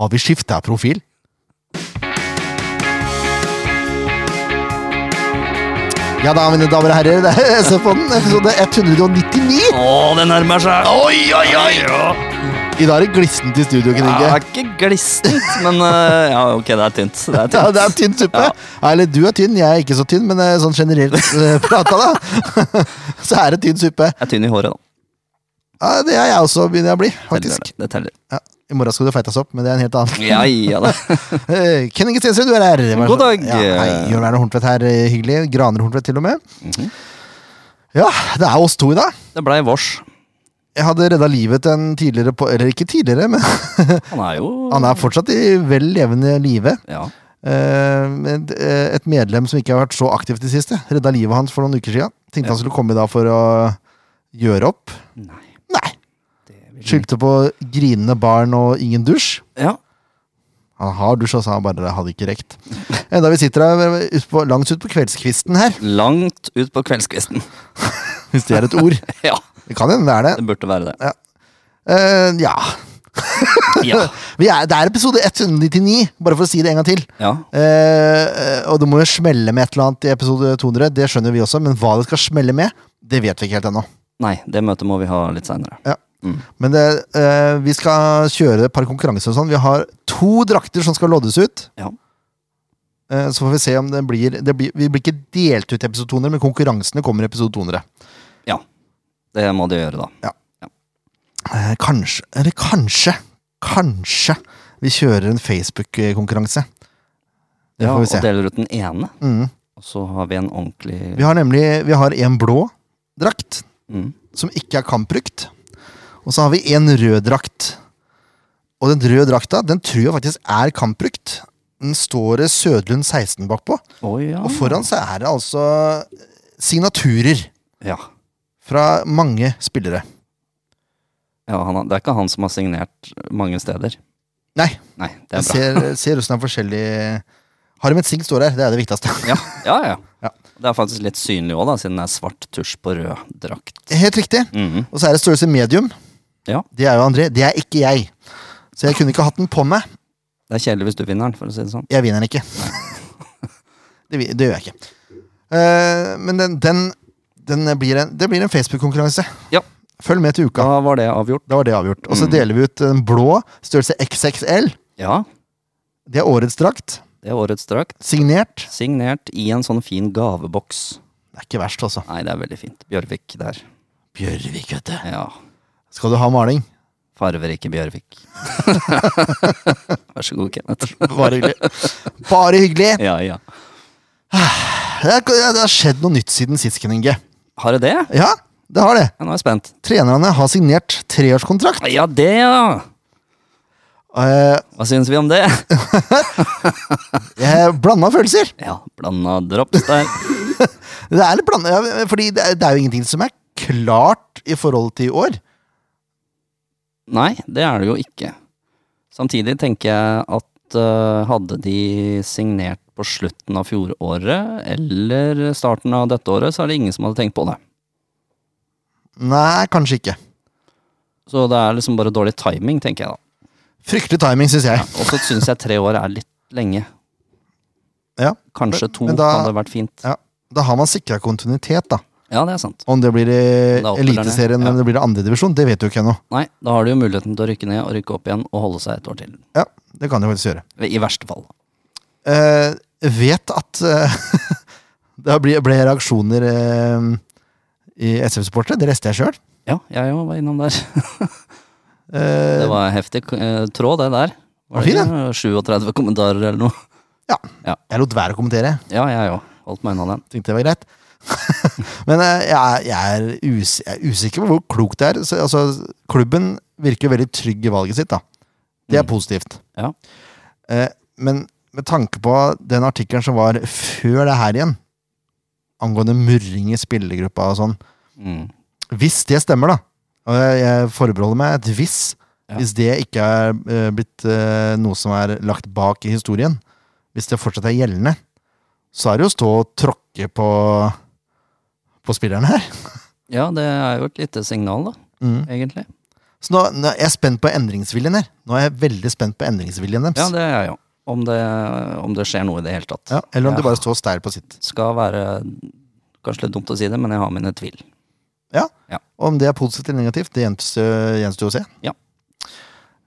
Har vi skifta profil? Ja da, mine damer og herrer, det er SF-podden, episode 199. Å, det nærmer seg! Oi, oi, oi! Ja. I dag er det glissent i studio, Det Knigge. er ikke glissent, men eh, ja, ok, det er tynt. Det er Ja, tynt. det er tynn suppe. Ja. Ja, Eller du er tynn, jeg er ikke så tynn, men eh, sånn generelt eh, prata, da. Så er det tynn suppe. Jeg er tynn i håret, da. Ja, det er jeg også, begynner jeg å bli, Teller faktisk. det. Det teller. Ja, I morgen skal du feites opp, men det er en helt annen. Ja, ja da. Eh, Ken Inge Stensrud, du er her. Vær så- God dag. Ja, hei, Jørn Erne Horntvedt her, eh, hyggelig. Graner Horntvedt, til og med. Mhm. Ja, det er oss to i dag. Det blei vårs. Jeg hadde redda livet til en tidligere på, Eller ikke tidligere, men Han er jo han er fortsatt i vel levende live. Ja. Eh, men, eh, et medlem som ikke har vært så aktivt i det siste. Redda livet hans for noen uker siden. Tenkte han skulle komme i dag for å gjøre opp. Nei. Nei. Det vil... Skyldte på grinende barn og ingen dusj. Ja. Han har dusj, altså. Han bare hadde ikke rekt. Enda vi sitter her eh, ut på, langt utpå kveldskvisten her, Langt ut på kveldskvisten. hvis det er et ord. Ja, Det kan hende det er det. det burde være det. Eh, ja. Ja. Vi er, det er episode 199, bare for å si det en gang til. ja. Eh, og det må jo smelle med et eller annet i episode 200, det skjønner vi også, men hva det skal smelle med, det vet vi ikke helt ennå. Nei, det møtet må vi ha litt seinere. Ja. Mm. Men det, eh, vi skal kjøre et par konkurranser og sånn. Vi har to drakter som skal loddes ut. Ja. Eh, så får vi se om det blir, det blir Vi blir ikke delt ut i episode 200, men konkurransene kommer i episode 200. Det må de gjøre, da. Eh, kanskje, eller kanskje, kanskje vi kjører en Facebook-konkurranse. Det Ja, får og vi se. deler ut den ene, Mm. og så har vi en ordentlig Vi har nemlig Vi har en blå drakt mm. som ikke er kampbrukt. Og så har vi en rød drakt. Og den røde drakta den tror jeg faktisk er kampbrukt. Den står det Sødlund 16 bakpå. Å, ja. Og foran så er det altså signaturer Ja. fra mange spillere. Ja, han, har- det er ikke han som har signert mange steder. Nei, Nei, det jeg er bra. ser, ser hvordan det er forskjellige Harmet Singh står her, det er det viktigste. Ja, ja, ja. Ja. Det er faktisk litt synlig òg, siden det er svart tusj på rød drakt. Helt riktig. Mhm. Og så er det størrelse medium. Ja. Det er jo André. Det er ikke jeg. Så jeg kunne ikke hatt den på meg. Det er kjedelig hvis du vinner den, for å si det sånn. Jeg vinner den ikke. det, vi- det gjør jeg ikke. Eh, men den, den, den blir en, det blir en Facebook-konkurranse. Ja. Følg med til uka. Da var det avgjort. Da var det avgjort. Og så deler vi ut den blå, størrelse XXL. Ja, Det er årets drakt. det er årets drakt. Signert. Signert i en sånn fin gaveboks. Det er ikke verst, altså. Nei, det er veldig fint. Bjørvik der. Bjørvik, vet du. Ja. Skal du ha maling? Farverike Bjørvik. Vær så god, Kenneth. Bare hyggelig. Bare hyggelig. Ja, ja. Det er- det har skjedd noe nytt siden sist, Ken Inge. Har det det? Ja, det har det. Ja, nå er jeg spent. Trenerne har signert treårskontrakt. Ja, det, ja! Eh, Hva syns vi om det? jeg Blanda følelser. Ja, blanda drops der. Det er litt blanda, ja, fordi det er, det er jo ingenting som er klart i forhold til i år. Nei, det er det jo ikke. Samtidig tenker jeg at eh, hadde de signert på slutten av fjoråret eller starten av dette året, så er det ingen som hadde tenkt på det. Nei, kanskje ikke. Så det er liksom bare dårlig timing, tenker jeg da. Fryktelig timing, syns jeg. Og så syns jeg tre år er litt lenge. Ja, Kanskje men- to men da- hadde vært fint. ja. Da har man sikra kontinuitet, da. Ja, det er sant. Om det blir i Det er opp eller ned, Eliteserien ja. eller om det blir i andredivisjon, det vet du ikke ennå. Nei, da har de jo muligheten til å rykke ned og rykke opp igjen og holde seg et år til. Ja, det kan de faktisk gjøre. I verste fall. Eh, vet at eh, det ble, ble reaksjoner eh, i SF-sportet. Det leste jeg sjøl. Ja, jeg jo var innom der. Eh, Det var heftig eh, tråd, det der. Var det Fin, ikke 37 kommentarer eller noe? jeg lot være å kommentere. Ja, jeg òg. Holdt meg unna den. Tenkte det var greit. Men eh, jeg, er- jeg, er us, jeg er usikker på hvor klokt det er. Så, altså, klubben virker veldig trygg i valget sitt. da. Det er positivt. Ja. Eh, men med tanke på den artikkelen som var før det her igjen, angående murring i spillergruppa og sånn Mm. Hvis det stemmer, da, og jeg, jeg forbeholder meg et hvis, Ja. hvis det ikke er eh, blitt eh, noe som er lagt bak i historien, hvis det fortsatt er gjeldende, så er det jo å stå og tråkke på, på spillerne her. Ja, det er jo et lite signal, da, Mm. egentlig. Så nå, nå er jeg spent på endringsviljen her. Nå er jeg veldig spent på endringsviljen deres. Ja, det er jeg jo. Om det, om det skjer noe i det hele tatt. Ja, eller om Ja. de bare står steil på sitt. Skal være kanskje litt dumt å si det, men jeg har mine tvil. Ja. Ja. Om det er positivt eller negativt, det gjenstår gjenstår å se. Ja.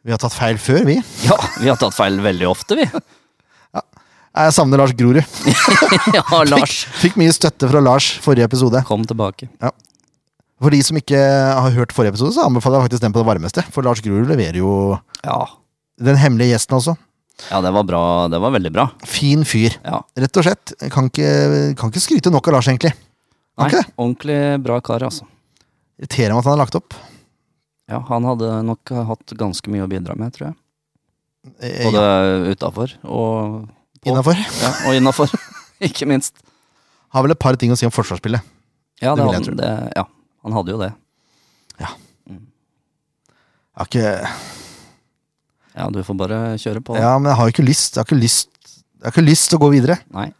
Vi har tatt feil før, vi. Ja, vi har tatt feil veldig ofte, vi. Jeg savner Lars Grorud. Ja, Lars. Fikk mye støtte fra Lars forrige episode. Kom tilbake. For de som ikke har hørt forrige episode, så anbefaler jeg faktisk den på det varmeste. For Lars Grorud leverer jo Ja. Den hemmelige gjesten også. ja, det var bra. Det var veldig bra. Fin fyr. Ja. Rett og slett. Kan ikke, kan ikke skryte nok av Lars, egentlig. Nei, Ok. ordentlig bra kar, altså. Irriterer meg at han har lagt opp. Ja, han hadde nok hatt ganske mye å bidra med, tror jeg. Eh, Både utafor og, Innafor. ja, og innafor, ikke minst. Har vel et par ting å si om forsvarsspillet. Ja, Det det vil jeg hadde, tro. det, ja, han hadde jo det. Jeg har ikke, Ja, du får bare kjøre på. ja, men jeg har jo ikke lyst. Jeg har ikke lyst Jeg har ikke lyst til å gå videre. Nei,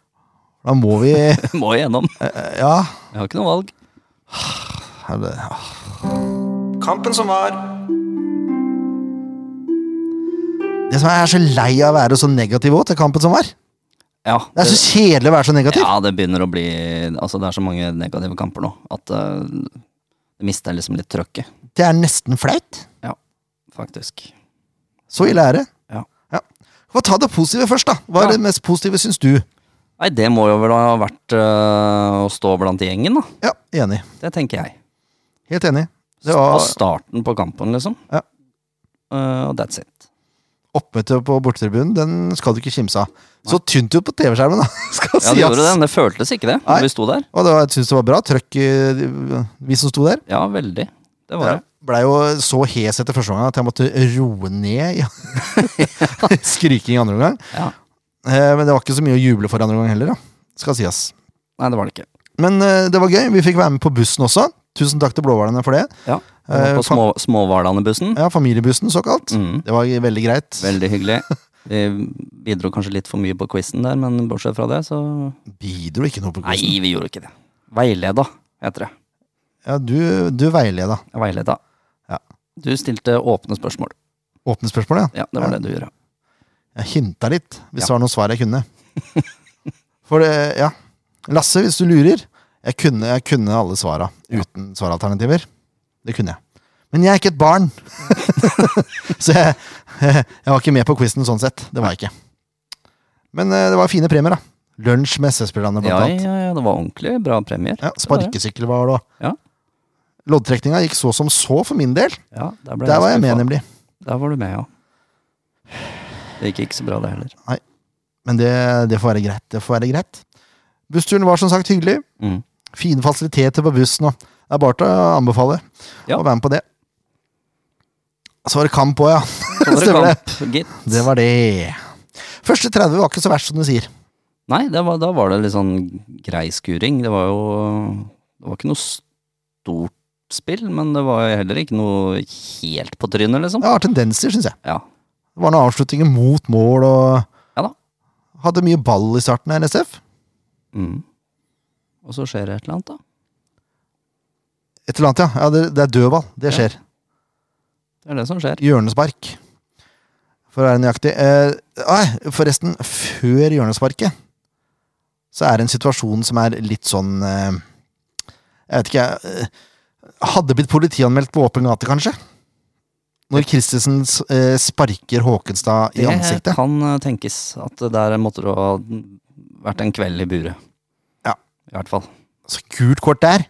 Da må vi må igjennom. Ja. Jeg har ikke noe valg. er det- ah. Kampen som var. Det som er, jeg er så lei av å være så negativ òg, til kampen som var. Det Ja, er så kjedelig å være så negativ. ja, det begynner å bli Altså, det er så mange negative kamper nå at eh, det mister liksom litt trøkket, Det er nesten flaut. faktisk. Så ille er det. Ja. Få ta det positive først, da. Hva er Ja. det mest positive, syns du? Nei, det må jo vel ha vært eh, å stå blant gjengen, da. Ja, enig. Det tenker jeg. Helt enig. Det På var starten på kampen, liksom. Ja. Eh, og that's it. oppmøtet på bortetribunen. Den skal du ikke kimse av. Så tynt ut på TV-skjermen, da. Skal Ja, det sies. gjorde det. men Det føltes ikke det Nei. når vi sto der. Og det var, jeg syns det var bra trøkk, eh, vi som sto der. Ja, veldig. Det var Jeg det. blei jo så hes etter første omgang at jeg måtte roe ned i skriking i andre omgang. Ja. Eh, Men det var ikke så mye å juble for andre omgang heller, da. Skal sies. Nei, det var det ikke. Men eh, det var gøy. Vi fikk være med på bussen også. Tusen takk til blåhvalene for det. Ja, det Eh, var på fam- små, Småhvalane-bussen. ja, familiebussen, såkalt. Mm. Det var veldig greit. Veldig hyggelig. Vi bidro kanskje litt for mye på quizen der, men bortsett fra det, så Bidro ikke noe på Nei, bussen. vi gjorde ikke det. Veileda, heter det. Ja, du, du veileda. Veileda. Ja. Du stilte åpne spørsmål. Åpne spørsmål, ja. Ja, det var det du gjorde. Jeg hinta litt, hvis Ja. det var noen svar jeg kunne. For det, ja. Lasse, hvis du lurer Jeg kunne, jeg kunne alle svara uten svaralternativer. Det kunne jeg. Men jeg er ikke et barn! så jeg, jeg var ikke med på quizen sånn sett. Det var jeg ikke. Men eh, det var fine premier, da. Lunsj med SS-spillerne, blant Ja, annet. ja, ja, det var ordentlig bra premier. Ja, sparkesykkel var det òg. Ja. Loddtrekninga gikk så som så for min del. Ja, der, ble Der var jeg med, skuffa. nemlig. Der var du med, ja. Det gikk ikke så bra, det heller. Men det, det får være greit. Det får være greit. Bussturen var som sagt hyggelig. Mm. Fine fasiliteter på bussen. Og det er bare til å anbefale Ja. å være med på det. Så var det kamp òg, ja. Så var det Stemmer det. kamp, gitt. Det var det. Første 30 var ikke så verst, som du sier. Nei, det var, da var det litt sånn grei skuring. Det var jo Det var ikke noe stort spill, men det var heller ikke noe helt på trynet, liksom. Det var tendenser, syns jeg. Ja. Det var noen avslutninger mot mål og Ja da. Hadde mye ball i starten av NSF. Mm. Og så skjer det et eller annet, da. Et eller annet, ja. ja det, det er dødball. Det Ja. skjer. Det er det som skjer. Hjørnespark. For å være nøyaktig. Eh, nei, forresten, før hjørnesparket så er det en situasjon som er litt sånn eh, Jeg vet ikke, jeg. Eh, hadde blitt politianmeldt på åpen gate, kanskje? Når Christensen s- eh, sparker Håkenstad i Det ansiktet. kan eh, tenkes at det der måtte det ha vært en kveld i buret. Ja. I hvert fall. Så gult kort der.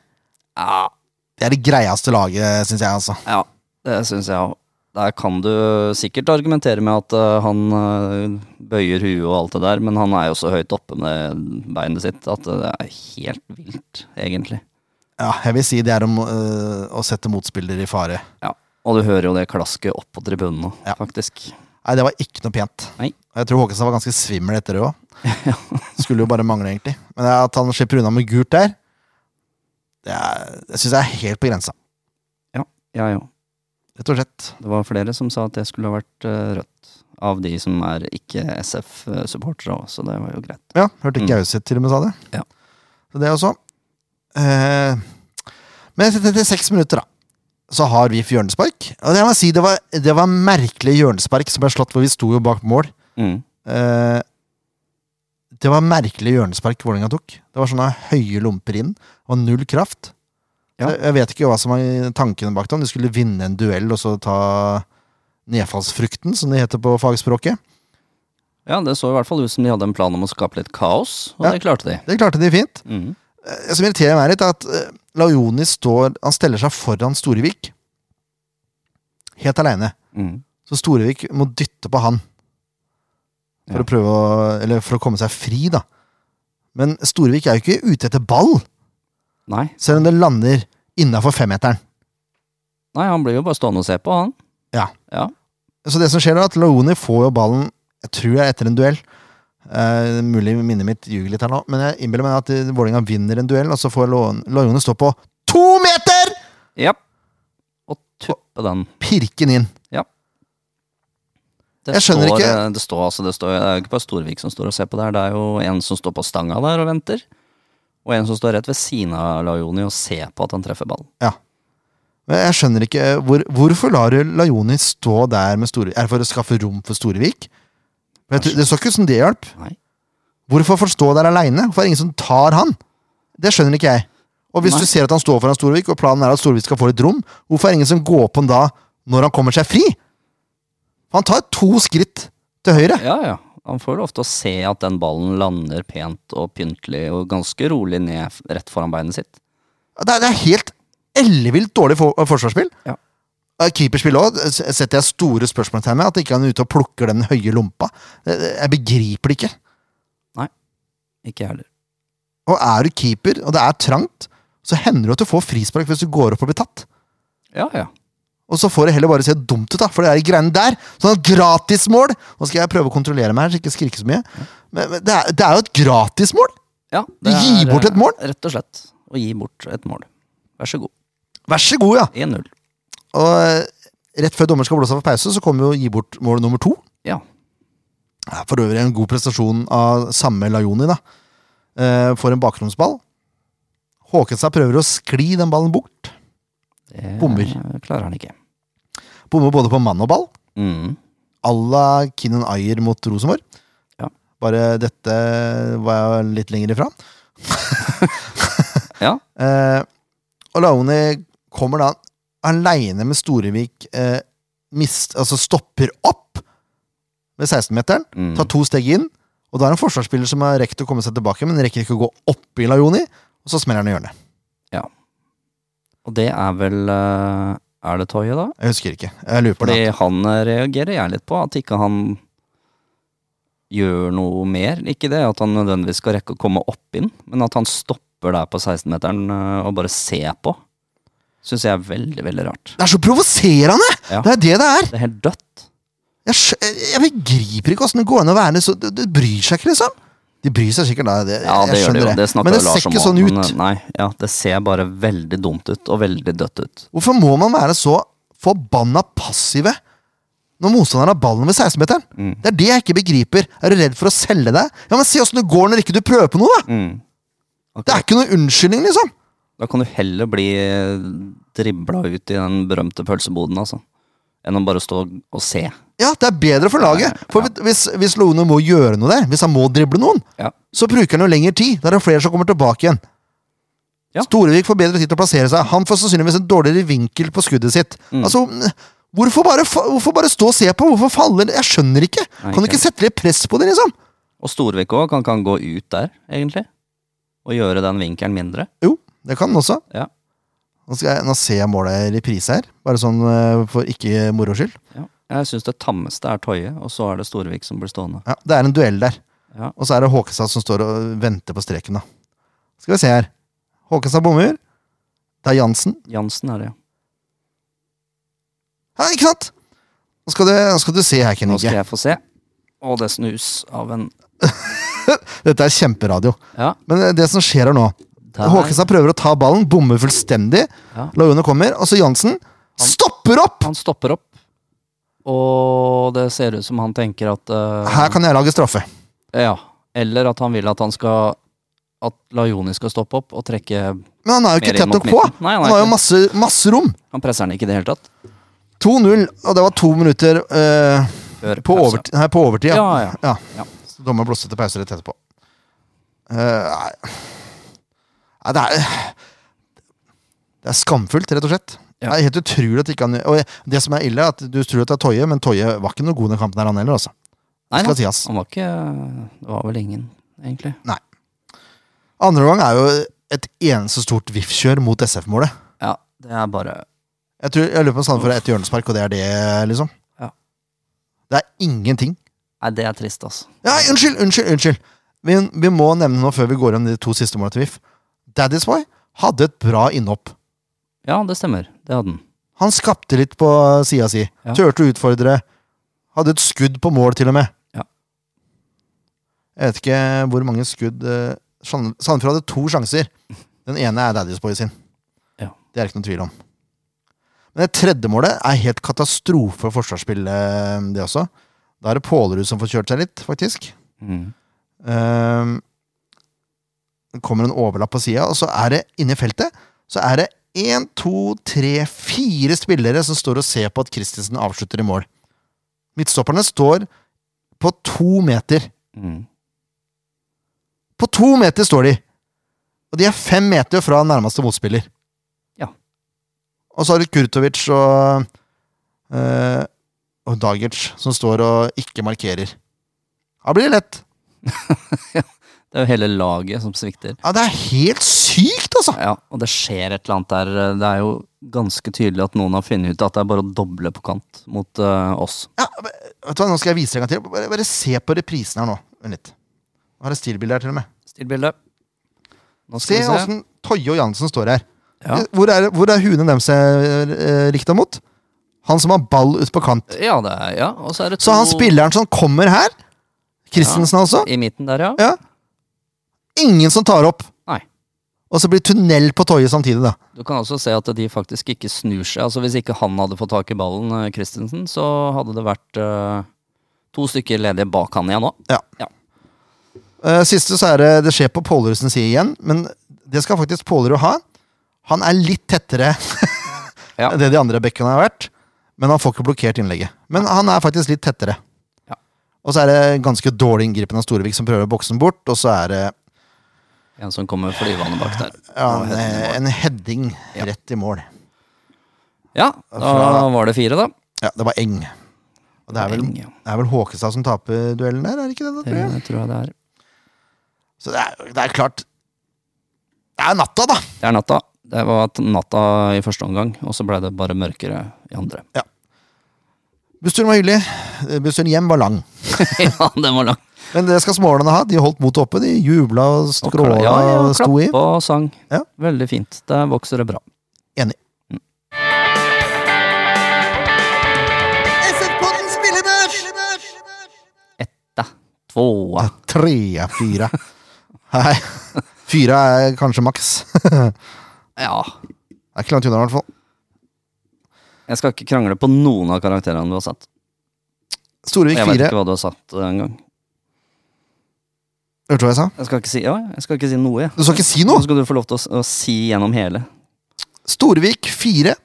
Ja, Det er det greieste laget, syns jeg, altså. ja det syns jeg òg. Der kan du sikkert argumentere med at eh, han eh, bøyer huet og alt det der, men han er jo så høyt oppe med beinet sitt at det er helt vilt, egentlig. Ja, jeg vil si det er om eh, å sette motspiller i fare. Ja, og du hører jo det klasket opp på tribunen nå, Ja. faktisk. Nei, det var ikke noe pent. Nei. Og jeg tror Håkenstad var ganske svimmel etter det òg. Skulle jo bare mangle, egentlig. Men at han slipper unna med gult der, det er, jeg syns jeg er helt på grensa. Ja, ja. Rett og slett. Det var flere som sa at det skulle ha vært eh, rødt. Av de som er ikke SF-supportere òg, så det var jo greit. Ja, hørte Mm. ikke Gauseth til og med sa det. Ja. Så det også. Eh, men etter etter seks minutter, da, så har vi hjørnespark. Og det, må jeg si, det, var, det var merkelig hjørnespark som ble slått, for vi sto jo bak mål. Mm. Eh, det var merkelig hjørnespark Vålerenga tok. Det var sånne høye lomper inn, og null kraft. Ja. Jeg, jeg vet ikke hva som var tankene bak dem. De skulle vinne en duell og så ta nedfallsfrukten, som det heter på fagspråket. Ja, det så i hvert fall ut som de hadde en plan om å skape litt kaos, og Ja. det klarte de. Det klarte de fint. Mm. Eh, Det som irriterer meg litt, er at eh, Laioni står Han steller seg foran Storevik. Helt aleine. Mm. Så Storevik må dytte på han. For, Ja. å prøve å, eller for å komme seg fri, da. Men Storevik er jo ikke ute etter ball, Nei. selv om det lander innafor femmeteren. Nei, han blir jo bare stående og se på, han. Så det som skjer, er at Laoni får jo ballen, jeg tror jeg, etter en duell. Eh, mulig minnet mitt ljuger litt her nå, men jeg innbiller meg at eh, Vålerenga vinner en duell, og så får Laoni stå på to meter! Japp. Og tuppe den. Pirken inn. Jeg Det skjønner står, ikke. eh, Det står, altså, det, står, det er jo ikke bare Storvik som står og ser på der, det er jo en som står på stanga der og venter. Og en som står rett ved siden av Laioni og ser på at han treffer ballen. Men Jeg skjønner ikke eh, hvor, Hvorfor lar du Laioni stå der med Storevik? Er det for å skaffe rom for Storevik? For jeg tror- Det så ikke ut som det hjalp. Nei. Hvorfor får han stå der aleine? Hvorfor er det ingen som tar han? Det skjønner ikke jeg. Og hvis Nei. du ser at han står foran Storevik, og planen er at Storevik skal få litt rom, hvorfor er det ingen som går på han da, når han kommer seg fri? Han tar to skritt til høyre. Ja, ja. Han får jo ofte å se at den ballen lander pent og pyntelig og ganske rolig ned f- rett foran beinet sitt. Det er, det er helt ellevilt dårlig for, forsvarsspill. Ja. Eh, Keeperspill òg setter jeg store spørsmålstegn ved. At ikke han er ute og plukker den høye lompa. Det- det- Jeg begriper det ikke. Ikke jeg heller. Og er du keeper, og det er trangt, så hender det at du får frispark hvis du går opp og blir tatt. Ja, ja. Og så får det heller bare se dumt ut, da, for det er de greiene der. Sånn gratismål! Nå skal jeg prøve å kontrollere meg her, så jeg ikke skriker så mye. Men, men det, er, det er jo et gratismål! ja Du det gir er, bort et eh, mål? Rett og slett. Å gi bort et mål. Vær så god. Vær så god, ja! 1-0. Og eh, rett før dommer skal blåse av for pause, så kommer jo å gi bort mål nummer to. Ja. Det er For øvrig en god prestasjon av samme Lajoni, da. Eh, får en bakromsball. Håkenstad prøver å skli den ballen bort. Det Bommer. klarer han ikke. Bommer både på mann og ball. Mm. à la Kinnan Ayer mot Rosenborg. Ja. Bare dette var jeg litt lenger ifra. Ja. Eh, og Laoni kommer da aleine med Storevik, eh, mist, altså stopper opp ved 16-meteren, Mm. tar to steg inn, og da er det en forsvarsspiller som har rekt å komme seg tilbake, men rekker ikke å gå opp i Laoni, og så smeller han i hjørnet. Og det er vel eh, Er det Toye, da? Jeg husker ikke. Jeg lurer på Fordi det. han eh, reagerer jeg litt på, at ikke han gjør noe mer. Ikke det at han nødvendigvis skal rekke å komme opp inn, men at han stopper der på 16-meteren eh, og bare ser på, syns jeg er veldig, veldig rart. Det er så provoserende! Ja. Det er det det er! Det er helt dødt. Jeg, skj- jeg begriper ikke åssen det går an å være så Du, du bryr seg ikke, liksom. De bryr seg sikkert, da. Det, Ja, jeg det gjør det skjønner jo. det. Det snakker Men det jo Lars ser om ikke også, sånn men, ut. eh, Nei, ja, det ser bare veldig dumt ut, og veldig dødt ut. Hvorfor må man være så forbanna passive når motstanderen har ballen ved 16-meteren? Mm. Det er det jeg ikke begriper. Er du redd for å selge deg? Ja, men Si åssen det går når ikke du prøver på noe, da! Mm. Det er ikke noe unnskyldning, liksom. Da kan du heller bli dribla ut i den berømte pølseboden, altså. Enn å bare stå og se. Ja, det er bedre for laget. For hvis, hvis Lone må gjøre noe der, hvis han må drible noen, Ja. så bruker han jo lengre tid. Da er det flere som kommer tilbake igjen. Ja. Storevik får bedre tid til å plassere seg. Han får sannsynligvis en dårligere vinkel på skuddet sitt. Altså, mm, hvorfor bare, fa- hvorfor bare stå og se på? Hvorfor falle? Jeg skjønner ikke. Nei, Kan du ikke. ikke sette litt press på det, liksom? Og Storvik òg, kan ikke han gå ut der, egentlig? Og gjøre den vinkelen mindre? Jo, det kan den også. Ja. Nå, skal jeg, nå ser jeg målet i reprise her, bare sånn eh, for ikke moro skyld. Ja. Jeg syns det tammeste er Toye, og så er det Storvik som blir stående. Ja, det er en duell der. Ja. Og så er det Håkestad som står og venter på streken, da. Skal vi se her. Håkestad bommer. Det er Jansen. Jansen er det, ja. Ja, ikke sant? Nå skal du, nå skal du se her, Ken Nå skal Inge. jeg få se. Og det snus av en Dette er kjemperadio. Ja. Men eh, det som skjer her nå Der. Håkestad prøver å ta ballen, bommer fullstendig. Ja. Laune kommer, og så Jansen stopper opp! Han stopper opp, og det ser ut som han tenker at eh, Her kan jeg lage straffe. Ja. Eller at han vil at han skal at Laioni skal stoppe opp og trekke Men han er jo ikke Mer inn tett mot nok på! midten. Nei, han er Han har jo ikke. masse, masse rom! Han presser den ikke i det hele tatt. 2-0, og det var to minutter eh, Før på, pause. overtid, nei, på overtid. Altså. Ja, ja. ja. Ja. Så Dommer blåste til pause rett etterpå. Eh, nei. nei Det er Det er skamfullt, rett og slett. Ja. Det er helt utrolig at ikke han Og det som er ille, er at du tror at det er Toje, men Toje var ikke noe god i den kampen her, han heller, altså. Nei, Skal nei, sies. han var ikke Det var vel ingen, egentlig. Andre gang er jo et eneste stort VIF-kjør mot SF-målet. Ja, det er bare Jeg, tror- jeg lurer på om Sandefjord er ett hjørnespark, og det er det, liksom. Ja. Det er ingenting. Nei, det er trist, altså. Nei, unnskyld, unnskyld, unnskyld. Vi, vi må nevne nå før vi går om de to siste målene til VIF. Daddy's Boy hadde et bra innhopp. Ja, det stemmer. Det hadde han. Han skapte litt på sida si. Ja. Turte å utfordre. Hadde et skudd på mål, til og med. Ja. Jeg vet ikke hvor mange skudd eh, Sand- Sandefjord hadde to sjanser. Den ene er Daddy's Boy sin. Ja. Det er det ikke noen tvil om. Men det tredje målet er helt katastrofe forsvarsspill, eh, det også. Da er det Pålerud som får kjørt seg litt, faktisk. Mm. Ehm, Det kommer en overlapp på sida, og så er det inne i feltet Så er det én, to, tre, fire spillere som står og ser på at Christensen avslutter i mål. Midtstopperne står på to meter. Mm. På to meter står de! Og de er fem meter fra nærmeste motspiller. Ja. Og så har du Kurtovic og, eh, og Dagic som står og ikke markerer. Da blir det lett. Det er jo hele laget som svikter. Ja, det er helt sykt, altså! Ja, og det skjer et eller annet der. Det er jo ganske tydelig at noen har funnet ut at det er bare å doble på kant mot eh, oss. Ja, vet du hva, Nå skal jeg vise deg en gang til. Bare, bare se på reprisen her nå. Vent litt. Nå har jeg stillbilde her, til og med. Stillbilde. Nå Se skal vi se. åssen Toje og Jansen står her. Ja. Hvor er, hvor er huene deres eh, rikta mot? Han som har ball ut på kant. Ja, det er, ja. Og så er det to Så han spilleren som kommer her, Christensen altså, i midten der, ja. Ja. ingen som tar opp. Nei. Og så blir det tunnel på Toje samtidig, da. Du kan også se at de faktisk ikke snur seg. Altså Hvis ikke han hadde fått tak i ballen, eh, Christensen, så hadde det vært eh, to stykker ledige bak han igjen nå. Eh, siste så er det Det skjer på Pålerud sin side igjen, men det skal faktisk Pålerud ha. Han er litt tettere Ja. enn det de andre bekkene har vært, men han får ikke blokkert innlegget. Men han er faktisk litt tettere. Ja. Og så er det ganske dårlig inngripen av Storevik som prøver å bokse den bort, og så er det En som kommer flyvende bak der. ja, Hva en, heter den? en heading Ja. rett i mål. Ja, da Fra- var det fire, da. Ja, det var eng. Og det er vel, Eng, ja. det er vel Håkestad som taper duellen der, er det ikke det? da, tror jeg? Det tror jeg det er. Så det er, det er klart Det er natta, da! Det er natta. Det var t- natta i første omgang, og så ble det bare mørkere i andre. Bussturen var hyggelig. Eh, Bussturen hjem var lang. ja, den var lang. Men det skal smålene ha. De holdt motet oppe. De jubla og skråla ja, ja, og sto i. klappa og sang. Ja. Veldig fint. Der vokser det bra. Enig. SF-podden spillebørs! Etta, tvåa, Tre, fire. Nei, fire er kanskje maks. Det ja. er ikke langt unna, i hvert fall. Jeg skal ikke krangle på noen av karakterene du har satt. Storevik Jeg vet fire. ikke hva du har satt eh, engang. Hørte du hva jeg sa? Jeg skal ikke si, ja, jeg skal ikke si noe, jeg. Du skal ikke si Nå noe! skal du få lov til å, s- å si gjennom hele. Storevik fire.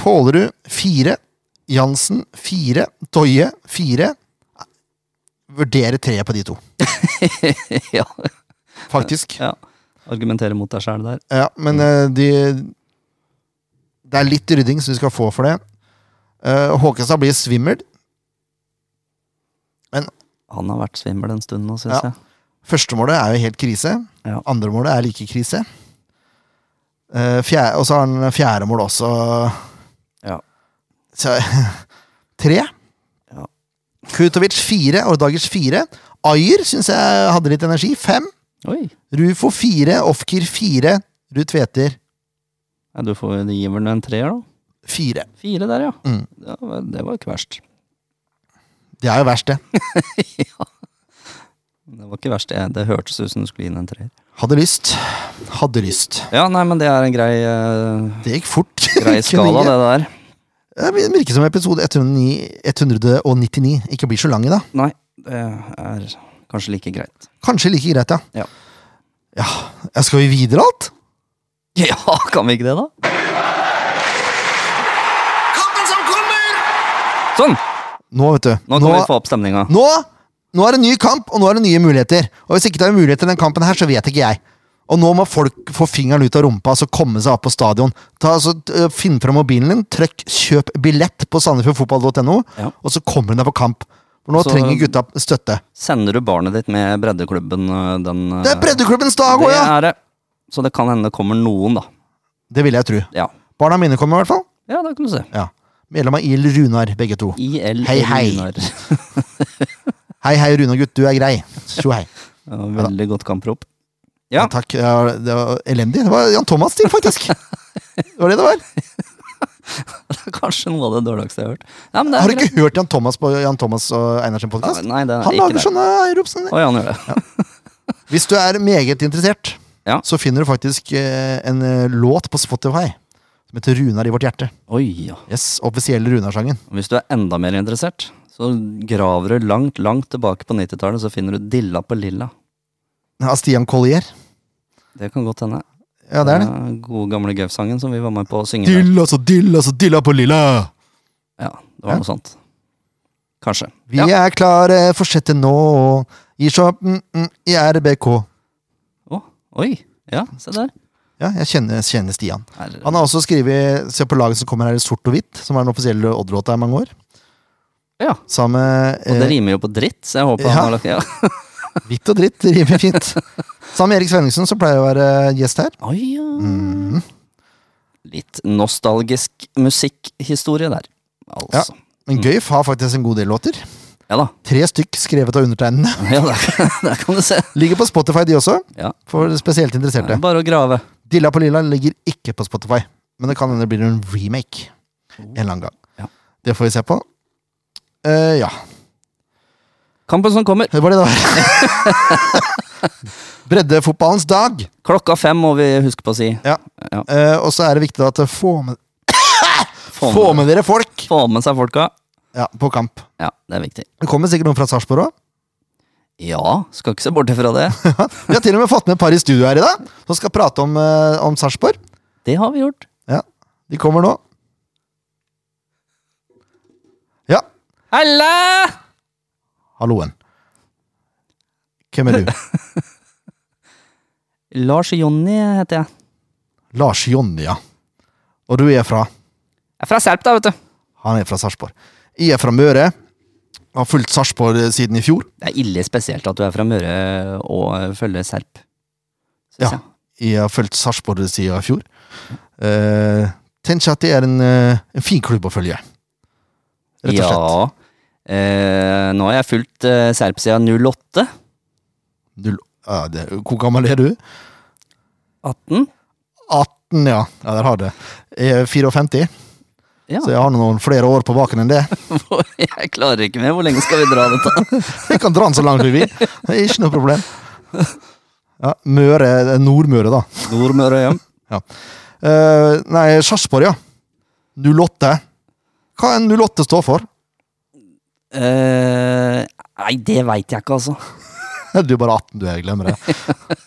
Pålerud fire. Jansen fire. Doye fire. Vurdere tre på de to, ja, faktisk. ja. Argumentere mot deg sjæl der. Ja, men eh, de Det er litt rydding, så vi skal få for det. Eh, Håkestad blir svimmel. Han har vært svimmel en stund nå, syns Ja. Førstemålet er jo helt krise. Ja. Andremålet er like krise. Eh, fjerde, og så har han fjerdemål også. jeg. Ja. Så, tre. Ja. Kutovic fire, Ordagers fire. Ayer syns jeg hadde litt energi. Fem. Oi. Rufo fire, Ofkir fire. Ruud Tveter Ja, du får gi vel en treer, da. fire. Fire der, ja. Mm. ja vel, det var jo ikke verst. Det er jo verst, det. Det var ikke verst, det. Det hørtes ut som du skulle inn en treer. Hadde lyst. Hadde lyst. Ja, nei, men det er en grei, eh, Det gikk fort. grei skala, det der. det. Virker som episode 109, 199 ikke blir så lang i dag. Nei, det er kanskje like greit. Kanskje like greit, ja. Ja. Ja, ja, skal vi videre alt? Ja, kan vi ikke det, da? Kampen som kommer! Sånn! Nå, vet du. Nå kan vi få opp stemninga. nå, nå er det ny kamp, og nå er det nye muligheter. Og hvis ikke det er muligheter i den kampen her, så vet ikke jeg. Og nå må folk få fingeren ut av rumpa altså komme seg opp på stadion. Ta, altså, t- øh, finn fram mobilen din, trykk 'kjøp billett' på sandefjordfotball.no, Ja. og så kommer du deg på kamp. For nå Så- trenger gutta støtte. Sender du barnet ditt med breddeklubben øh, den øh, Det er breddeklubbens dag òg, det ja! er det. Så det kan hende det kommer noen, da. Det vil jeg tro. Ja, Barna mine kommer, i hvert fall. ja det kan du se. Ja. Medlem av IL Runar, begge to. IL Hei, hei. Runar. Hei, hei, Rune gutt, du er grei. Tjo hei. Ja, Veldig godt kamprop. Ja. Ja. takk. Ja, det var elendig. Det var Jan Thomas' stil, faktisk. Det var det det var. Det er Kanskje noe av det dårligste jeg har hørt. Ja, men det er Har du ikke hørt Jan Thomas på Jan Thomas og Einar sin greit. podkast? Ja, Nei, det er Han ikke lager sånn- det. sånne rop som det. Oi, han gjør det. Hvis du er meget interessert, Ja. så finner du faktisk eh, en eh, låt på Spotify som heter 'Runar i vårt hjerte'. Oi, ja. Yes, Offisielle Runar-sangen. Og Hvis du er enda mer interessert, så graver du langt, langt tilbake på 90-tallet, så finner du Dilla på Lilla. Av Stian Collier. Det kan godt hende. Ja, det altså, er det. Den eh, Gode gamle Gauf-sangen som vi var med på å synge. der. Dilla så dilla så dilla på lilla! Ja, det var Ja. noe sånt. Kanskje. Vi er klare, fortsette nå. Gir så mm, mm, i RBK. Å, oi. Ja, se der. Ja, jeg kjenner, kjenner Stian. Her. Han har også skrevet Se på laget som kommer her i sort og hvitt, som var den offisielle Odd-låta i mange år. Ja. Sammen med Og det eh, rimer jo på dritt, så jeg håper ja. han har lagt ja. Hvitt og dritt rimer fint. Sammen med Erik Svenningsen, som pleier å være eh, gjest her. Oi, ja. Mhm. Litt nostalgisk musikkhistorie der, altså. Men Gøyf har faktisk en god del låter. Ja, da. Tre stykk skrevet av undertegnede. Ja, der, der kan du se. Ligger på Spotify, de også. Ja. For spesielt Det interesserte. er bare å grave. Dilla på lilla ligger ikke på Spotify. Men det kan hende det blir en remake. En eller annen gang. Oh. Ja. Det får vi se på. Eh, ja. Kampen som kommer. Det var det det var. Breddefotballens dag. Klokka fem må vi huske på å si. Ja. Ja. Eh, og så er det viktig at dere får med, Få får med, med dere folk få med seg folka. ja, på kamp. Ja, det er viktig. Det kommer sikkert noen fra Sarpsborg òg. Ja, skal ikke se bort ifra det. Vi har til og med fått med et par i studio her i dag som skal prate om, eh, om Sarpsborg. Det har vi gjort. Ja, de kommer nå. Ja, Halla! halloen. Hvem er du? Lars Jonny heter jeg. Lars Jonny, ja. Og du er fra? Jeg er fra Serp, da, vet du. Han er fra Sarpsborg. Jeg er fra Møre. Har fulgt Sarpsborg eh, siden i fjor. Det er ille spesielt at du er fra Møre og følger Serp. Synes Ja. jeg. Jeg har fulgt Sarpsborg siden i fjor. Uh, tenker at det er en, eh, en fin klubb å følge. Rett og slett. Ja. Eh, nå har jeg fulgt eh, Serp siden 08. Du, ja, det, hvor gammel er du? 18. 18, ja. Ja, der har du det. Eh, Jeg er 54, Ja. så jeg har noen flere år på baken enn det. Jeg klarer ikke mer. Hvor lenge skal vi dra dette? Jeg kan dra den så langt vi vil. Det er ikke noe problem. Ja, Møre, det er Nordmøre, da. Nordmøre hjem. Ja. Eh, nei, Sarpsborg, ja. 08. Hva er 08 står for? Eh, nei, det veit jeg ikke, altså. Du er bare 18, du. Jeg glemmer det.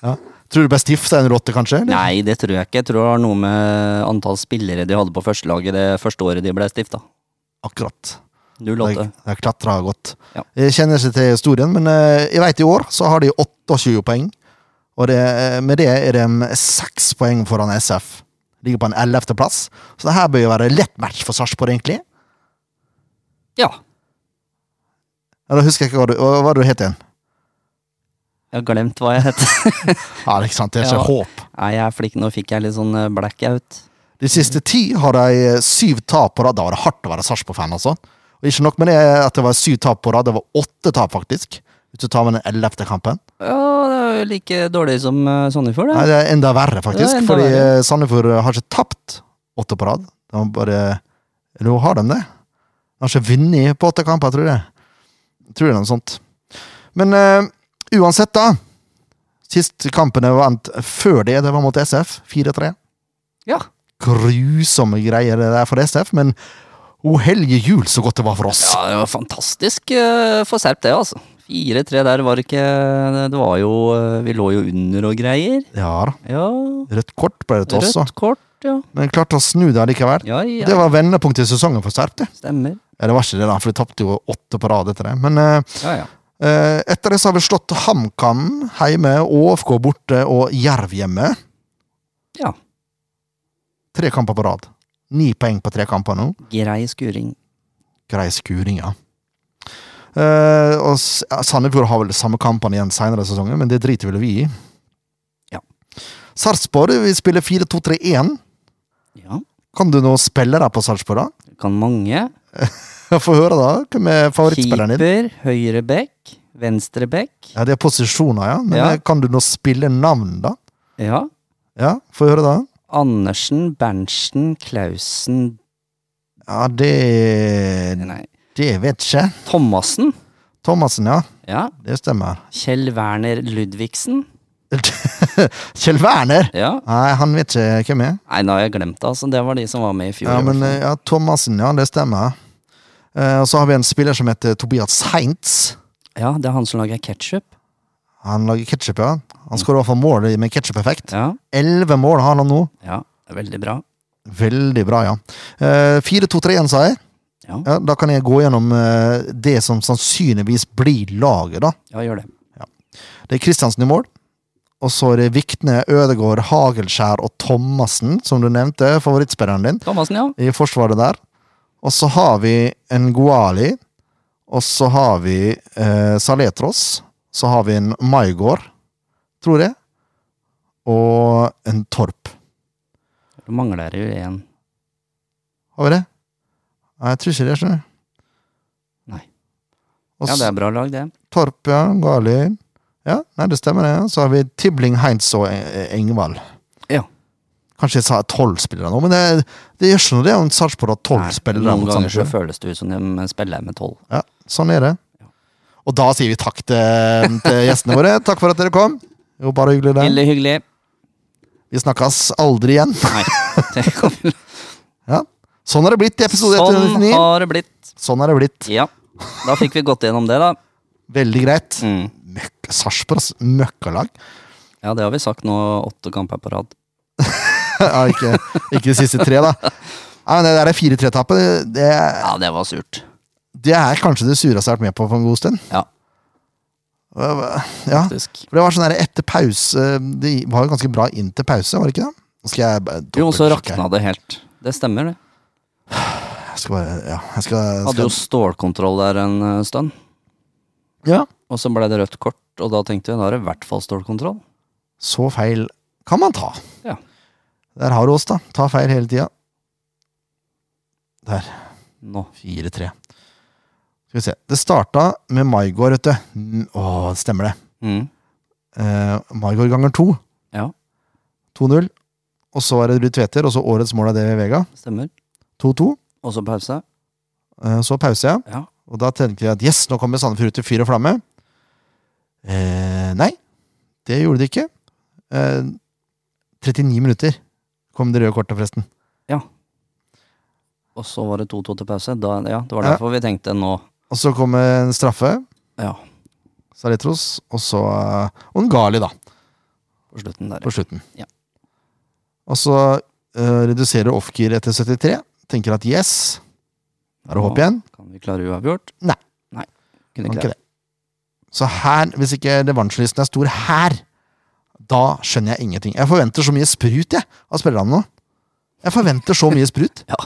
Ja. Tror du ble stifta en 08, kanskje? eller? Nei, det tror jeg ikke. Jeg tror det har noe med antall spillere de hadde på førstelaget det første året de ble stifta. Akkurat. Jeg, 08. jeg klatra godt. Ja. Jeg kjenner ikke til historien, men eh, jeg vet i år så har de 28 poeng. Og det, eh, med det er de seks poeng foran SF. Ligger på en 11. plass. Så det her bør jo være lett match for Sarpsborg, egentlig. Ja. Eller husker jeg ikke hva du, hva hva du het igjen? Jeg har glemt hva jeg heter. Ja, det er ikke sant. Det er ikke Ja. håp. Nei, jeg er flink. Nå fikk jeg litt sånn eh, blackout. De siste ti har de eh, syv tap på rad. Da var det hardt å være Sarpsborg-fan, altså. Og ikke nok med det at det var syv tap på rad, det var åtte tap, faktisk. Hvis du tar med den 11. kampen. Ja, det er jo like dårlig som eh, Sandefjord, Nei, det. det er enda verre, Det faktisk. er enda fordi verre. eh, Sandefjord har ikke tapt åtte på rad. De har bare Eller jo, har de det? De har ikke vunnet på åtte kamper, tror jeg. Tror jeg noe sånt. Men eh, uansett, da. Sist kampene var endt før det. Det var mot SF. 4-3. Ja. Grusomme greier det der for SF, men O hellige jul, så godt det var for oss. ja, det var fantastisk eh, for Serp, det, altså. 4-3 der var ikke Det var jo eh, Vi lå jo under og greier. Ja da. Ja. Rødt kort ble det til oss, Rødt kort, ja. da. men klarte å snu det likevel. Ja, ja. Det var vendepunktet i sesongen for Serp, det. Stemmer. Ja, det var ikke det, da, for de tapte jo åtte på rad etter det. Men eh, Ja, ja. eh, etter det så har vi slått HamKam hjemme, ÅFK borte og Jerv hjemme. Ja. Tre kamper på rad. Ni poeng på tre kamper nå. Grei skuring. Grei skuring, ja. Eh, og S- ja, Sandefjord har vel samme kampene igjen senere i sesongen, men det driter vel vi i. Ja. Sarpsborg vi spiller 4-2-3-1. Ja. Kan du nå spille der på Sarpsborg, da? Kan mange. Få høre, da. Hvem er favorittspilleren din? Keeper, høyre back, venstre back. Ja, Det er posisjoner, ja. Men Ja. eh, kan du nå spille navn, da? Ja. Ja, Få høre, da. Andersen, Berntsen, Klausen Ja, det Nei, Det vet ikke. Thomassen. Thomassen, ja. Ja. Det stemmer. Kjell Werner Ludvigsen. Kjell Werner! Ja. Nei, han vet ikke hvem jeg er. Nei, nå har jeg glemt det, altså. Det var de som var med i fjor. Ja, i men hvert eh, ja, Thomassen, ja. Det stemmer. Eh, Og så har vi en spiller som heter Tobias Heinz. fall. ja, det er han som lager ketsjup. Han lager ketsjup, ja. Han skårer i hvert fall mål med ketsjup-effekt. Ja. Elleve mål har han nå. ja. det er Veldig bra. Veldig bra, ja. Eh, 4-2-3-1, sa jeg. Ja. Ja, da kan jeg gå gjennom eh, det som sannsynligvis blir laget, da. Ja, gjør det. Det er Kristiansen i mål. Og så er det Vikne, Ødegård, Hagelskjær og Thomassen, som du nevnte. Favorittspilleren din Thomassen, ja. i forsvaret der. Og så har vi Ngoali. Og så har vi eh, Saletros. Så har vi en Maigård, tror jeg. Og en Torp. Du mangler jo en Har vi det? Nei, jeg tror ikke det. skjønner du. Nei. Og Ja, det så er bra lag, det. Torp, ja. Ngoali. Ja, nei, det stemmer, det. Så har vi Tibling, Heinz og eh, Engvald. Ja. Kanskje jeg sa tolv spillere nå, men det, det gjør ikke noe det om Sarpsborg har tolv Nei, spillere. Noen mot ganger så Sandefjord. føles det ut som de spiller med tolv. Ja, sånn er det. Og da sier vi takk til, til gjestene våre. Takk for at dere kom. Jo, bare hyggelig det. Veldig hyggelig. Vi snakkes aldri igjen. Nei, det kan vi Ja. Sånn har det blitt i episode Sånn 199. har det blitt. Sånn har det blitt. Ja. Da fikk vi gått gjennom det, da. Veldig greit. Mm. Møkk- Sarpsborgs møkkalag. Ja, det har vi sagt nå åtte kamper på rad. Ja, ikke, ikke de siste tre, da. Nei, men det der 4-3-tapet, det, Ja, det var surt. det er kanskje det sureste jeg har vært med på for en god stund. Ja, Ja. faktisk. For det var sånn der etter pause Det var jo ganske bra inn til pause, var det ikke det? Nå skal jeg bare Jo, og så dobbeltsjekke. rakna det helt. Det stemmer, det. Jeg skal bare Ja, jeg skal, Hadde jo skal stålkontroll der en eh, stund. Ja. Og så ble det rødt kort, og da tenkte jeg da er det i hvert fall stålkontroll. Så feil kan man ta. Ja. Der har du oss, da. Ta feil hele tida. Der. Nå. 4-3. Skal vi se. Det starta med Maigård, vet du. Mm, Å, det stemmer det. Mm. Eh, Maigård ganger to. Ja. 2-0. Og så er det Ruud Tveter, og så årets mål er det Vega. Stemmer. 2-2. Og så pause. Eh, så pause, ja. Ja. Og da tenkte jeg at yes, nå kommer Sandefjord ut i fyr og flamme. Eh, nei, det gjorde de ikke. Eh, 39 minutter kom det røde kortet, forresten. Og så var det 2-2 til pause. Da, ja, det var Ja. derfor vi tenkte nå. Og så kom en straffe. Ja, Saletros, og så eh, Ungali, da, på slutten der. på slutten. Ja. Og så eh, reduserer off-gear etter 73. Tenker at yes, da er det håp igjen. Kan vi klare uavgjort? Nei. Nei. Kunne Kan ikke ikke det. det. Så her, hvis ikke revansjelysten er stor her, da skjønner jeg ingenting. Jeg forventer så mye sprut jeg, av spillerne nå. Jeg forventer så mye sprut. Ja.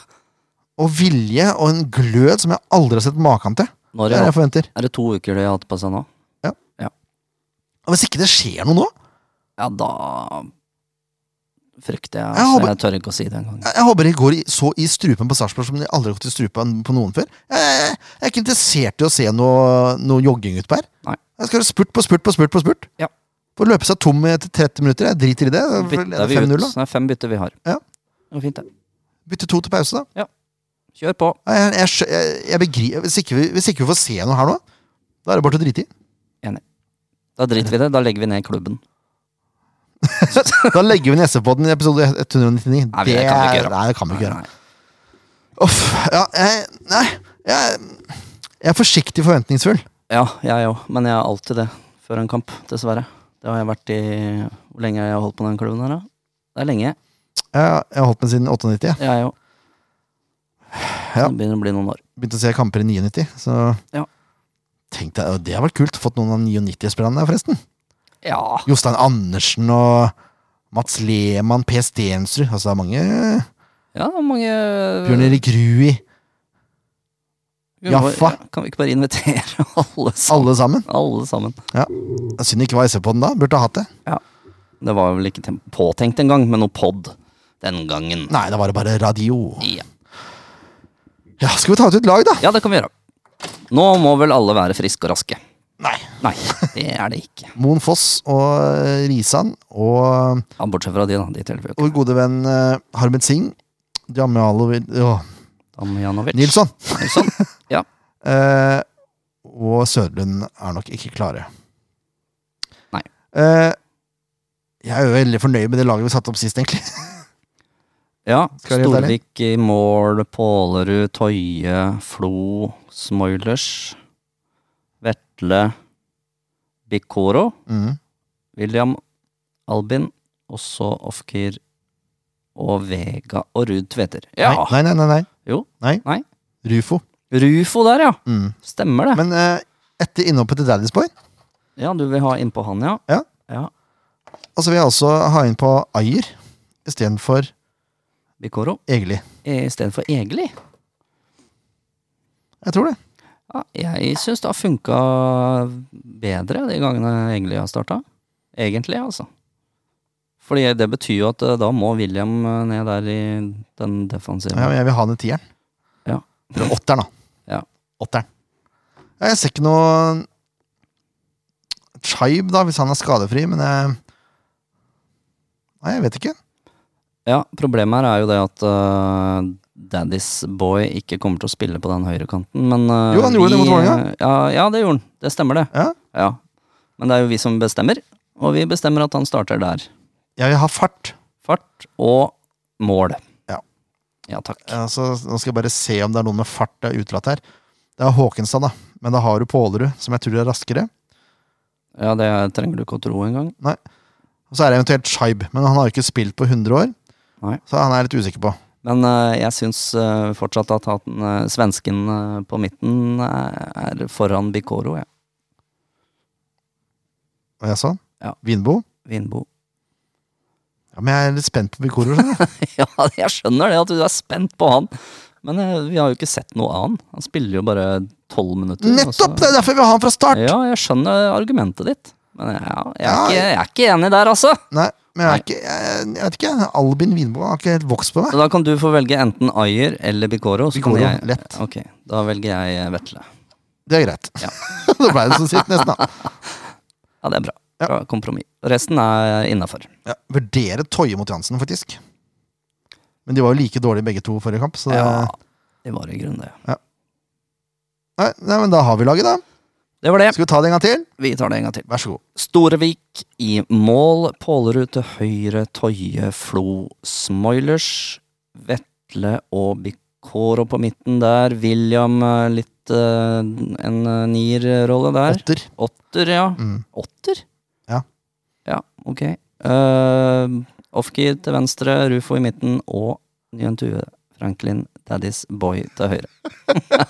Og vilje og en glød som jeg aldri har sett maken til. Det Når er det er, jeg forventer. er det to uker de har hatt på seg nå? Og hvis ikke det skjer noe nå Ja, da frykter jeg. Jeg så håper- jeg tør ikke å si det engang. Jeg jeg håper de går i- så i strupen på Sarpsborg som de aldri har gått i strupen på noen før. Jeg, jeg, jeg er ikke interessert i å se noe, noe jogging utpå her. Nei. Jeg skal ha spurt på spurt på spurt på spurt. Ja. Få løpe seg tom etter 30 minutter. Jeg driter i det. Så bytter vi 5-0 ut. da. Nei, fem bytter vi har. Ja. Det var fint, det. Bytte to til pause, da. Kjør på. Nei, Jeg, jeg, skjø- jeg, jeg begri- hvis, ikke vi, hvis ikke vi får se noe her nå, da er det bare til å drite i. Da driter vi i det. Da legger vi ned klubben. Da legger vi ned SV-podden i episode 199. Nei, det kan vi ikke er- gjøre. Nei, det kan vi ikke gjøre. Nei, nei. Uff. Ja, jeg, nei, jeg, jeg er forsiktig forventningsfull. Ja, jeg òg. Men jeg er alltid det før en kamp, dessverre. Det har jeg vært i Hvor lenge har jeg holdt på den klubben her, da? Det er lenge. Jeg, jeg har holdt med siden 98. Jeg òg. Ja. Det begynner å bli noen år. Begynte å se kamper i 99. Så Ja. tenkte jeg, «Å, Det har vært kult. Fått noen av 99-spillerne der, forresten. Ja. Jostein Andersen og Mats Lehmann, Per Stensrud. Altså, det er mange. Ja, mange Mm. Bjørn Erik Rui. Vi må- Jaffa. ja, Kan vi ikke bare invitere alle sammen? Alle sammen. Alle sammen. Synd det ikke var SV på den da. Burde ha hatt det. Det var vel ikke tem- påtenkt engang, men noe pod den gangen. Nei, da var det bare radio. Ja. Ja, skal vi ta ut et lag, da? ja, det kan vi gjøre. Nå må vel alle være friske og raske. Nei. Nei, det er det ikke. Moen Foss og eh, Risan og eh, Ja, bortsett fra de, da. De teller vi jo ikke. vår gode venn eh, Harbet Singh. Djamjalo oh, Damjanovic. Nilsson. Nilsson. Ja. Eh, og Sødlund er nok ikke klare. Nei. Eh, jeg er jo veldig fornøyd med det laget vi satte opp sist, egentlig. ja. Skal jeg være helt Storvik i mål, Pålerud, Tøye, Flo, Smoilers, Vetle, Bikoro. Mm. William, Albin, og så Ofkir og Vega og Ruud Tveter. Ja! Nei, nei, nei. nei. Jo. Nei. Nei. Rufo. Rufo der, ja! Mm. Stemmer det. Men eh, etter innhoppet til Daddy's Boy, Ja, du vil ha innpå han, ja? Ja. og så altså vil jeg også ha inn på Ayer istedenfor Bikoro Egeli. istedenfor Egeli. Jeg tror det. Ja, jeg syns det har funka bedre de gangene Egeli har starta. Egentlig, altså. Fordi det betyr jo at eh, da må William eh, ned der i den defensive. Ja, men jeg vil ha ned tieren. Ja. Eller åtteren, da. Ja. Åtteren. Ja, jeg ser ikke noe Chibe, da, hvis han er skadefri, men jeg Nei, jeg vet ikke. Ja, problemet her er jo det at øh, Daddy's Boy ikke kommer til å spille på den høyrekanten, men øh, Jo, han gjorde det mot Vålerenga. øh, Ja, ja, det gjorde han. Det stemmer, det. Ja. Men det er jo vi som bestemmer, og vi bestemmer at han starter der. Jeg vil ha fart. Fart og mål. Ja. Ja, takk. Ja, så nå skal jeg bare se om det er noe med fart det er utelatt her. Det er Håkenstad, da. Men da har du Pålerud, som jeg tror er raskere. Ja, det trenger du ikke å tro engang. Og så er det eventuelt Chibe, men han har jo ikke spilt på 100 år. Nei. Så han er jeg litt usikker på. Men øh, jeg syns øh, fortsatt at han, øh, svensken øh, på midten øh, er foran Bikoro, ja. Og jeg sånn? Ja. Vinbo? Vinbo. Ja, men jeg er litt spent på Bikoro. skjønner du. Ja, jeg skjønner det, at du er spent på han. Men eh, vi har jo ikke sett noe annet. Han spiller jo bare tolv minutter. og så- Nettopp! Det er derfor vi har han fra start! Ja, jeg skjønner argumentet ditt. Men ja, jeg, er Ja. ikke, jeg er ikke enig der, altså. Nei, men jeg, er ikke, jeg, jeg vet ikke. Albin Vinbo har ikke helt vokst på meg. Så da kan du få velge enten Ayer eller Bikoro. Så Bikoro, kan jeg, lett. Ok, Da velger jeg eh, Vetle. Det er greit. Ja. da ble det sånn sist, nesten. da. Ja, det er bra. Ja. Bra kompromiss. Resten er innafor. Ja, vurdere Toje mot Jansen, faktisk. Men de var jo like dårlige begge to forrige kamp, så det- Ja, det var i grunnen det. nei, nei, men da har vi laget, da. Det var det. Skal vi ta det en gang til? Vi tar det en gang til. Vær så god. Storevik i mål. Pålerud til høyre, Toje, Flo, Smoilers. Vetle og Bikoro på midten der. William eh, litt eh, en eh, nier-rolle der. Åtter. Åtter, ja. Mm. Åtter? Ja. Ja, ok. Uh, Ofkir til venstre, Rufo i midten og Njentue Franklin, Daddy's Boy til høyre.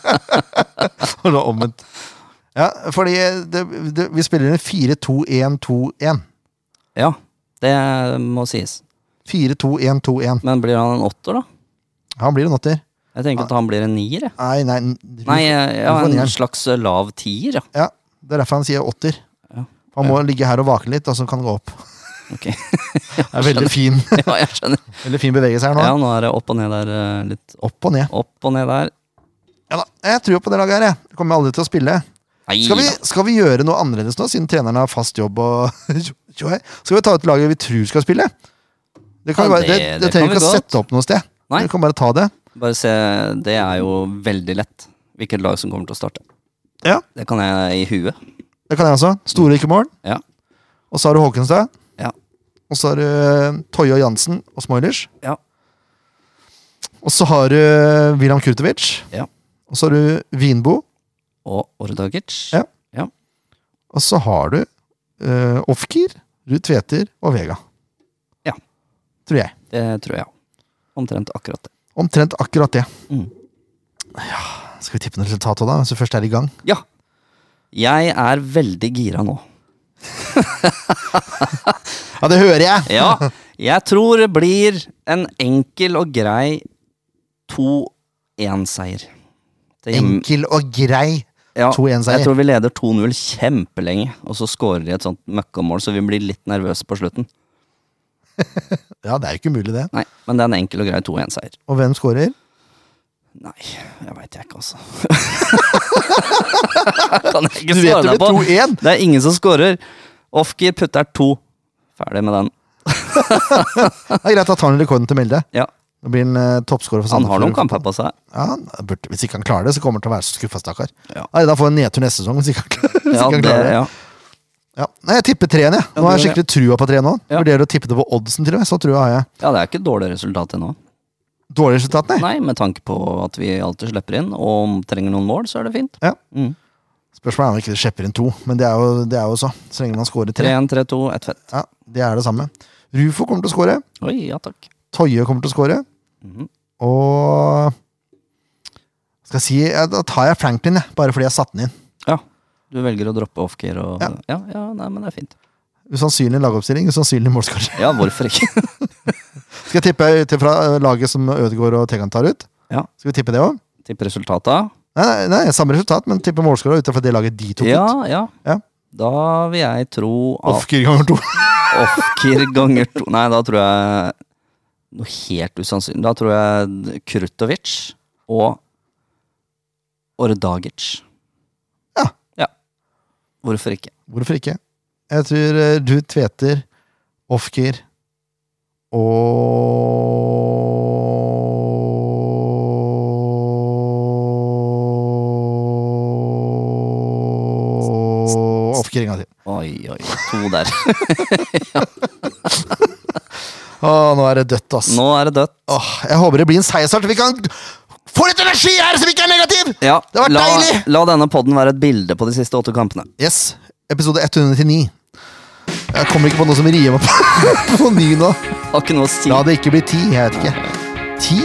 Og da omvendt. Ja, fordi det, det, vi spiller en 4-2-1-2-1. Ja, det må sies. 4-2-1-2-1. Men blir han en åtter, da? Han blir en åtter. Jeg tenker at han blir en nier, jeg. Nei, nei, n- Nei, ja, får nieren. en slags eh, lav tier, ja. Ja, det er derfor han sier åtter. Ja. Han må ligge her og vake litt, og så kan han gå opp. Ok. Det er veldig fin, ja jeg skjønner. veldig fin bevegelse her nå. Ja, nå er det opp og ned der. eh, Litt Opp og ned. opp og ned der. Ja da, Jeg tror på det laget her. jeg. Det kommer aldri til å spille. Nei, Skal vi, da. skal vi gjøre noe annerledes nå, siden treneren har fast jobb? og tjo hei? Skal vi ta ut laget vi tror skal spille? Det, kan Ja, vi bare, det, det- det, det kan trenger vi ikke å vi godt. sette opp noe sted. Nei. Vi kan bare ta det. Bare se, det er jo veldig lett hvilket lag som kommer til å starte. Ja. Det kan jeg i huet. Det kan jeg også. Store ikke mål. Ja. Og så har du Håkenstad. Ja. Og så har du eh, Toje og Jansen og Smoilers. Ja. Og så har du eh, William Kurtovic. Ja. Og så har du Vinbo. Og Ordagic. Ja. ja. Og så har du eh, Ofkir, Ruud Tveter og Vega. Ja. Tror jeg. Det tror jeg. Omtrent akkurat det. Omtrent akkurat det. Mm. Ja, skal vi tippe noe resultat da, mens vi først er i gang? Ja. Jeg er veldig gira nå. Ja, det hører jeg! Ja. Jeg tror det blir en enkel og grei 2-1-seier. Til hjem- Enkel og grei. Ja, 2-1-seier. Jeg tror vi leder 2-0 kjempelenge, og så scorer de et sånt møkkamål, så vi blir litt nervøse på slutten. Ja, det er jo ikke umulig, det. Nei, men det er en enkel og grei 2-1-seier. Og hvem scorer? Nei, jeg veit jeg ikke, altså. kan jeg Du ikke vet svare det deg blir på. 2-1! Det er ingen som scorer. Offgear putter to. Ferdig med den. Det er greit, da tar han rekorden til Melde. Ja, Da blir han eh, toppscorer for Han har Sandefjord. noen kamper på seg. Ja, han burde, Hvis ikke han klarer det, så kommer han til å være så skuffa, stakkar. Ja. Nei, Da får han nedtur neste sesong. Hvis ikke han klarer, hvis Ja, ikke han det, klarer det. ja. Ja. Nei, Jeg tipper treen, jeg. Nå har jeg du gjør skikkelig trua på treen nå. Ja. Vurderer å tippe det på oddsen, til og med. Så trua har jeg. ja, det er ikke et dårlig resultat ennå. Dårlig resultat, nei. Nei, med tanke på at vi alltid slipper inn, og om trenger noen mål, så er det fint. Ja. Mm. Spørsmålet er om ikke det slipper inn to, men det er jo, det er jo så. Så lenge man scorer tre. 3-1, 3-2, ett fett. Ja, det er det samme. Rufo kommer til å score. Oi, ja takk. Toje kommer til å score. Mhm. Og hva skal jeg si, ja, Da tar jeg Franklin, jeg, bare fordi jeg satte den inn. Ja. Du velger å droppe offgear og Ja. ja. ja, nei, men det er fint. Usannsynlig lagoppstilling, usannsynlig målskårer. Ja, hvorfor ikke? Skal jeg tippe ut ifra eh, laget som Ødegaard og Tegan tar ut? Ja. Skal vi tippe det òg? Tipp resultata. Nei, nei, nei, samme resultat, men tippe målskårer ut ifra det laget de tok Ja, ut. ja. Ja. Da vil jeg tro at Offgear ganger to. offgear ganger to Nei, da tror jeg noe helt usannsynlig. Da tror jeg Krutovic og Ordagic. Ja. ja. Hvorfor ikke? Hvorfor ikke? Jeg tror eh, du tveter Ofkir og Ofkir en gang til. Oi, oi, to der. Å, nå er det dødt, ass. Nå er det dødt. Åh, jeg håper det blir en seiersstart. Vi kan få litt energi her, som ikke er negativ! Ja, Det var la, deilig! la denne podden være et bilde på de siste åtte kampene. Yes, episode 199. Jeg kommer ikke på noe som rimer på, på ny nå. Har ikke noe å si. La det ikke bli ti. Jeg vet ikke. Ti?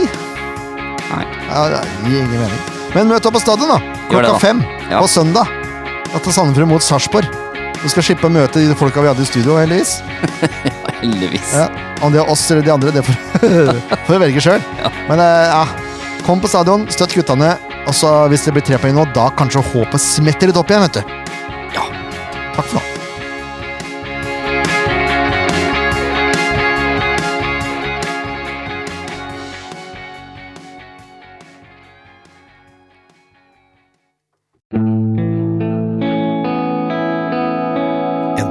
Nei. Ja, det gir ingen mening. Men møt opp på stadion, da. Gjør det, Klokka da. fem Ja. på søndag. Da tar Sandefjord mot Sarpsborg. Du skal slippe å møte de folka vi hadde i studio, heldigvis. Heldigvis. Ja. Om det er oss eller de andre, det får får vi velge sjøl. Men eh, ja, kom på stadion, støtt guttene. Og så hvis det blir tre poeng nå, da kanskje håpet smetter litt opp igjen, vet du. Ja. Takk for nå. En